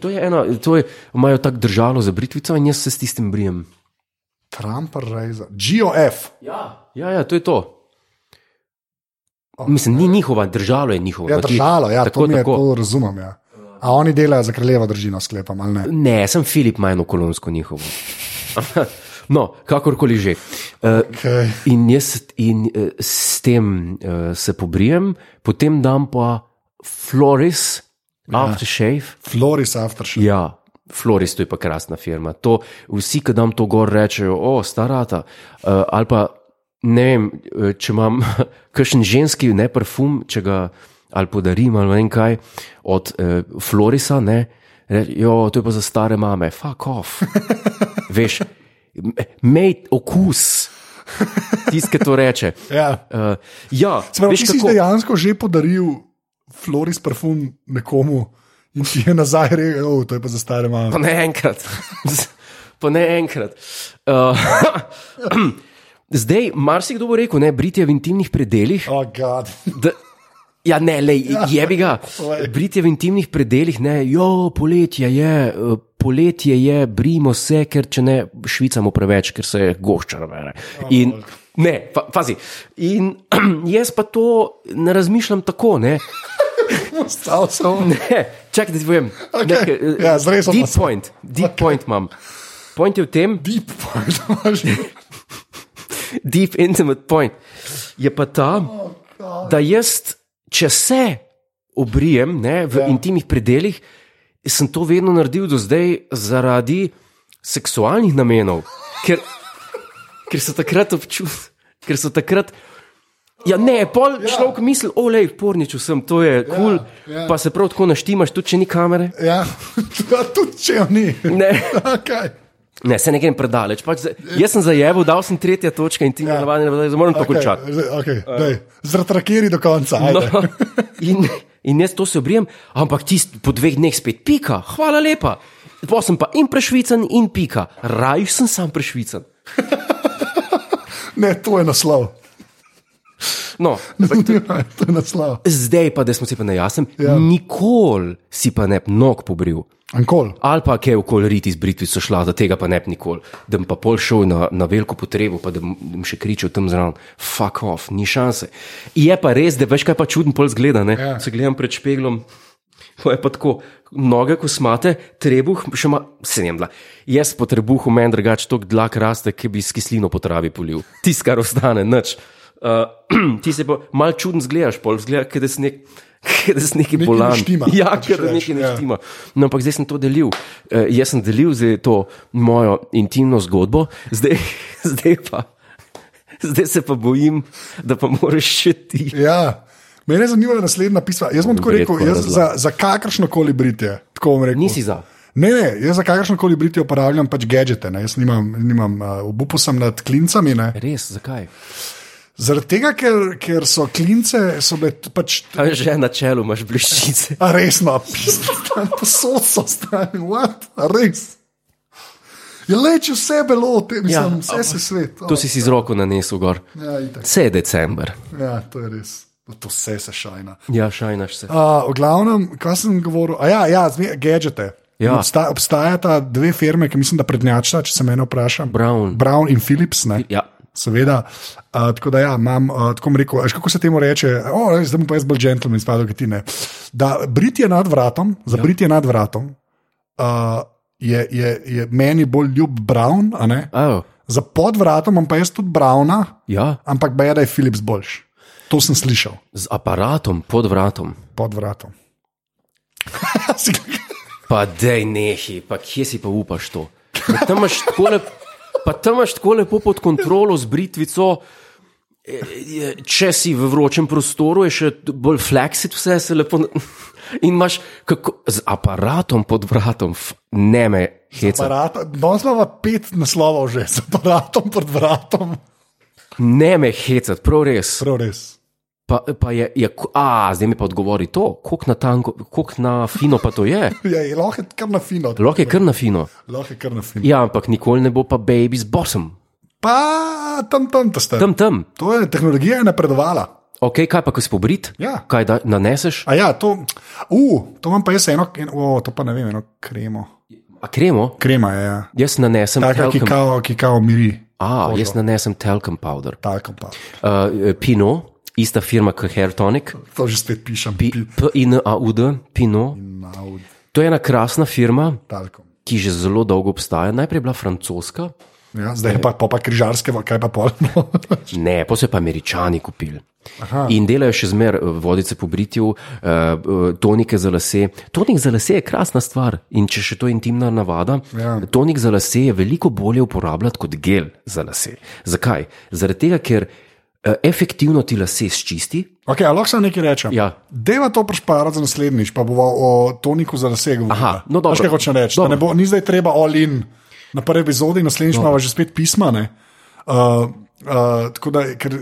To je ena, to je, imajo tako držalo za britvico in jaz se s tistim brijem. Trump Razor. GOF. Ja, ja, ja to je to. Mislim, ni njihova, držalo je njihovo. Ja, no, ti- držalo, ja, tako, to, mi je, tako. to razumem. Ja. A oni delajo za kraljevo družino, sklepam, ali ne? Ne, sem Filip, ima eno kolonsko njihovo. no, kakorkoli že. Uh, Okay. In jaz in, uh, s tem uh, se pobrijem, potem dam pa Floris, ja. Aftershave. Floris Aftershave. Ja, Floris, to je pa krasna firma. To, vsi, ki dam to gor, rečejo, o, starata. Uh, ali pa ne vem, eh, če imam kakšen ženski, ne parfum, če ga ali podarim ali ne vem kaj od uh, Florisa, ne. Rečejo, to je pa za stare mame, fuck off. Veš, m- mej okus, tiskaj to reče. Ja. Uh, ja, Spravo, veš ti si kako. dejansko že podaril Floris parfum nekomu in ti je nazaj rekel, oh, to je pa za stare Pa mame. ne enkrat. pa ne enkrat. Uh, Zdaj, marsikdo bo rekel, ne, Britje v intimnih predeljih. Oh, God. Da, ja, ne, le, je bi ga. Lej. Britje v intimnih predeljih, ne, jo, poletje je, eh, poletje je, brimo se, ker če ne, švicamo preveč, ker se goščar vere. In, ne, fa, fazi. In jaz pa to ne razmišljam tako, ne. Stal sem. Ne, čakaj, da ti povem. Okej, Nekaj, eh, ja, zrezal pa deep sem. point, deep okay. point imam. Point je v tem, Deep point, imaš. deep intimate point. Je pa ta, Oh, da jaz, če se obrijem ne, v ja. intimnih predeljih, sem to vedno naredil do zdaj zaradi seksualnih namenov, ker, ker so takrat občutili, ker so takrat. Ja, ne, pol ja. človek misli, olej, porniču sem, to je kul, cool, ja, ja. ja. pa se prav tako naštimaš, tudi če ni kamere. Ja, tudi če jo ni. Ne. Okay. Ne, se ne grem predaleč. Pač, za- jaz sem zajeval, dal sem tretja točka in ti ja. navadni, da moram to okay. končati. Okay, okay, uh. Zratrakiri do konca. Eh. No, No. in in jaz to se obrijem, ampak tisti po dveh dneh spet pika, hvala lepa. Pa sem pa in prešvicen, in pika, raj sem sam prešvicen. Ne, to je naslov. Ja, No, to je naslov. zdaj pa, da smo si pa na jasnem, Ja. ja. nikoli si pa ne bi nog pobril. Ankol. Ali pa kje okoli riti iz Britvice šla, da tega pa ne bi nikoli, da bi pa pol šel na, na veliko potrebo, pa da bi da bi še kričal tam zraven, fuck off, ni šanse. Je pa res, da veš, kaj pa čuden pol zgleda, ne? Ja. Ja. Se gledam pred špeglom, pa je pa tako, noge, ko smate, trebuh, še ima, se ne vem, da. Jaz po trebuhu meni drugače tok dlak raste, ki bi s kislino po travi polil. Tis, kar ostane, nič. Uh, ti se pa mal čuden zgledaš, pol zgleda, ker da si nek. Ker da si neki Nekaj bolan. ne štima, ja, hočeš ker da reči, nekaj ne ja. štima intima. No, ampak zdaj sem to delil. Uh, jaz sem delil zdaj to mojo intimno zgodbo, zdaj, zdaj pa. Zdaj se pa bojim, da pa moraš še ti. Ja. Mene zanima naslednja pisma. Jaz bom tako Verjetno rekel, jaz razlaga. za, za kakršno koli britje. Tako bom rekel. Nisi za. Ne, ne, jaz za kakršno koli britje uporabljam pač gadžete. Ne. Jaz nimam, nimam uh, obupu sem nad klincami. Ne. Res, zakaj? Zaradi tega, ker, ker so klince, so bile t- pač. Tam že na čelu imaš bliščice. A resno, pisno, posod so stali, what, A res. Je leč vse belo, te, mislim, ja, Ja, vse se svet. To si si z roko nanesel gor. Ja, itak. Vse je december. ja, to je res. To vse se šajna. Ja, šajnaš se. Uh, v glavnem, kaj sem govoril? A Ja, ja zme- gadgete. Ja. Obsta, obstajata dve firme, ki mislim, da prednjačata, če se mene vpraša. Brown. Brown in Philips. Ne? Ja. Seveda. Uh, tako da, ja, imam, uh, tako bom rekel, a veš, kako se temu reče, oh, lej, zdaj bom pa jaz bolj gentleman, spadal kot ti ne. Da, britje nad vratom, za ja. britje nad vratom uh, je, je, je meni bolj ljub Brown, a ne? Oh, za pod vratom imam pa jaz tudi Browna, ja, ampak bej, da je Philips boljši. To sem slišal z aparatom pod vratom. pod vratom. Si- Pa dej nehi, pa kje si pa upaš to? Pa tam imaš tako lepo, pa tam imaš tako lepo pod kontrolo z britvico. e, e, Če si v vročem prostoru, je še t- bolj flexit, vse se lepo. na- In imaš kako, z aparatom pod vratom, f- ne me heca. Aparata, danes imamo pet naslovov že, s aparatom pod vratom. Ne me heca, prav res. Prav res. Pa, pa je, je, ko- a zdaj mi pa odgovori to, koliko na, tanko, koliko na fino pa to je. Ja, je lahko je kar na fino. Lahko je kar na fino. Lahko je kar na fino. Ja, ampak nikoli ne bo pa baby z bosom. Pa tam, tam, tam ste. Tam, tam. To je tehnologija je napredovala. Ok, kaj pa, ko si pobrit? Ja. Kaj da, naneseš? A ja, to, uh, to imam pa jaz eno, en, oh, to pa ne vem, eno kremo. A kremo? Krema je, ja. Jaz nanesem taka, ki talcum. kao, ki kao miri, A, jaz nanesem talcum powder. tako pa. Uh, Pino, ista firma kot Hair Tonic, To že spet pišem, Pi- P-I-N-A-U-D, Pino. naud, To je ena krasna firma, talkom. ki že zelo dolgo obstaja. Najprej je bila francoska, Ja, zdaj je pa, pa, pa križarske, kaj pa polno. ne, pa so jo pa američani kupili. Aha. In delajo še zmer eh, vodice po britju, uh, tonike za lase. Tonik za lase je krasna stvar in če še to je intimna navada, Ja. tonik za lase je veliko bolje uporabljati kot gel za lase. Zakaj? Zaradi tega, ker eh, efektivno ti lase sčisti. Okay, a lahko samo nekaj rečem. Ja. Deva to prešparati za naslednjič, pa bova o toniku za doseg. Aha, no dobro. Kaj hočem reči? da Dobro. Ne bo, ni zdaj treba olin na prvi epizodi, naslednjič imamo že spet pisma. ne. Uh, uh, tako da, ker,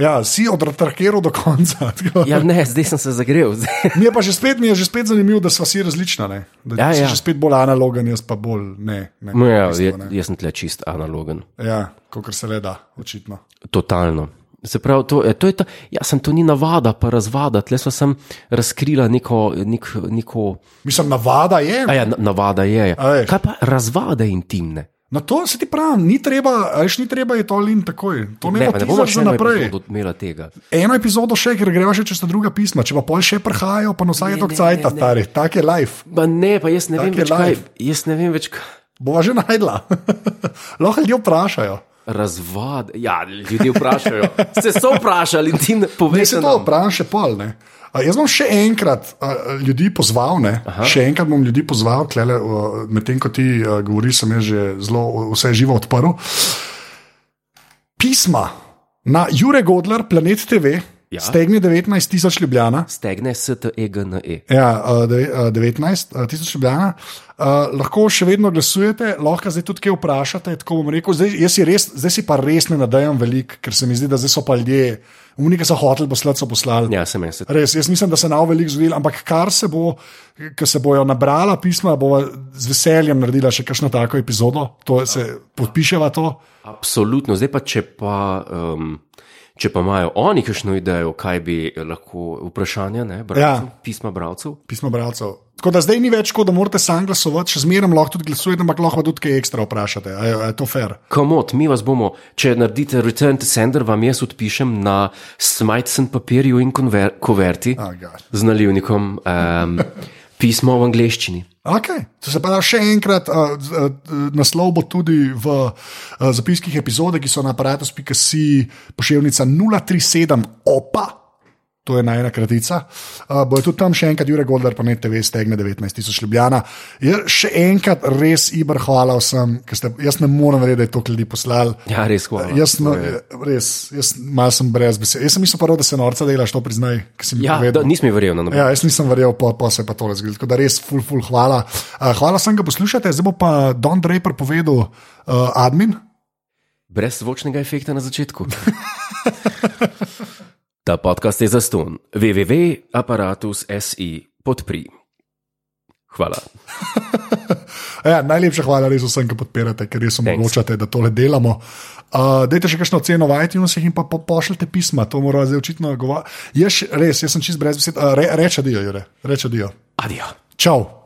ja, si odratarkiral do konca. tako. Ja, ne, zdaj sem se zagrel. Ja, Zdaj- Mi je pa že spet, mi je že spet zanimivo, da smo si različna. Ne? Da Ja, ti si ja. že spet bolj analogen, jaz pa bolj ne. ne No, ja, jaz, v bistvu, ne. jaz sem tle čist analogen. ja kot se le da, očitno. Totalno. Se pravi, to, eh, to je ta, jaz sem to ni navada, pa razvada, tle sva sem razkrila neko, nek, neko Mislim, navada je. a ja, na- navada je. je. A veš. Kaj pa razvade intimne? Na to se ti pravi, ni treba, a veš, ni treba je to lin takoj. To ne, Ne, pa ne bomo še še naprej. epizodo imela tega. Eno epizodo še, ker greva še čez ta druga pisma, če pa pol še prihajajo, pa na vsake Ne, ne, tok cajt, ne, ne. stari, tak je life. Ba ne, pa jaz ne Tak vem je več kaj. life. Jaz ne vem več kaj. Bova že najdla. Lahko ljudje vprašajo. Razvad. Ja, ljudje vprašajo. Ste se vprašali in ti ne Ne se poveste. to nam. vprašam še pol. Ne. A, Jaz bom še enkrat a, a, ljudi pozval, ne? še enkrat bom ljudi pozval, klele, o, medtem ko ti a, govoriš, sem jaz že zelo o, vse živo odprl. Pisma na Jure Godler, Planet TV, Ja. Stegne 19 tisoč Ljubljana. Stegne E STEGNE. Ja, eh, deve- eh, 19 eh, tisoč Ljubljana. Eh, Lahko še vedno glasujete, lahko zdaj tudi kaj vprašate. Tako bom rekel, zdaj, jaz si res, zdaj si pa res ne nadejam veliko, ker se mi zdi, da zdaj so pa ljudje, umni, ki so hoteli poslati, so poslali. Ja, se meni se. Res, jaz mislim, da se nav veliko zgodilo, ampak kar se bo, ki se bojo nabrala pisma, bo z veseljem naredila še kakšno tako epizodo, to se podpiševa to. Absolutno. Zdaj pa, če pa, um, če pa imajo oni kakšno idejo, kaj bi eh, lahko vprašanja, ne, bralcev, Ja. ja. pisma bralcev. Pismo bralcev. Tako da zdaj ni več tako, da morate sam glasovati, še zmeraj lahko tudi glasujete, ampak lahko tudi kaj ekstra vprašate. A je, a je to fair? Komod, mi vas bomo, če naredite return to sender, vam jaz odpišem na smajcen papirju in konver, kuverti Ah, God. z nalivnikom um, pismo v angleščini. Okay. To se pa da še enkrat, uh, uh, naslov bo tudi v uh, zapiskih epizode, ki so na aparatu.si, pošiljka 037, opa, to je najna kratica. Uh, bojo tudi tam še enkrat, Jurek Goldar, pa ne TV, stegne 19.000 Ljubljana. Jaz še enkrat res ibr hvala vsem, ker ste, jaz ne morem verjeti, da je toliko ljudi poslali. Ja, res hvala. Jaz, no, To je- res, jaz malo sem brez besed. Jaz sem mislil, prvo, da se norca delaš, to priznaj, ki si mi ja, povedal. da, nisem ji verjel na noben. Ja, jaz nisem verjel, pa, pa se je pa tole zgodilo. Tako da res, ful, ful, hvala. Uh, hvala sem ga poslušate, zdaj bo pa Don Draper povedal, uh, admin. Brez zvočnega efekta na začetku. Ta podcast je zaston. www.apparatus.si podpri. Hvala. Ja, najlepša hvala res vsem, ki podpirate, ker res Thanks. omogočate, da tole delamo. Uh, dajte še kakšno ceno v iTunesih in pa po, pošljite pisma, to mora zdaj eh, očitno govoriti. Jaz še- res, jaz sem čist brez besed, uh, re, reče dio, Jure, reče dio. Adijo. Čau.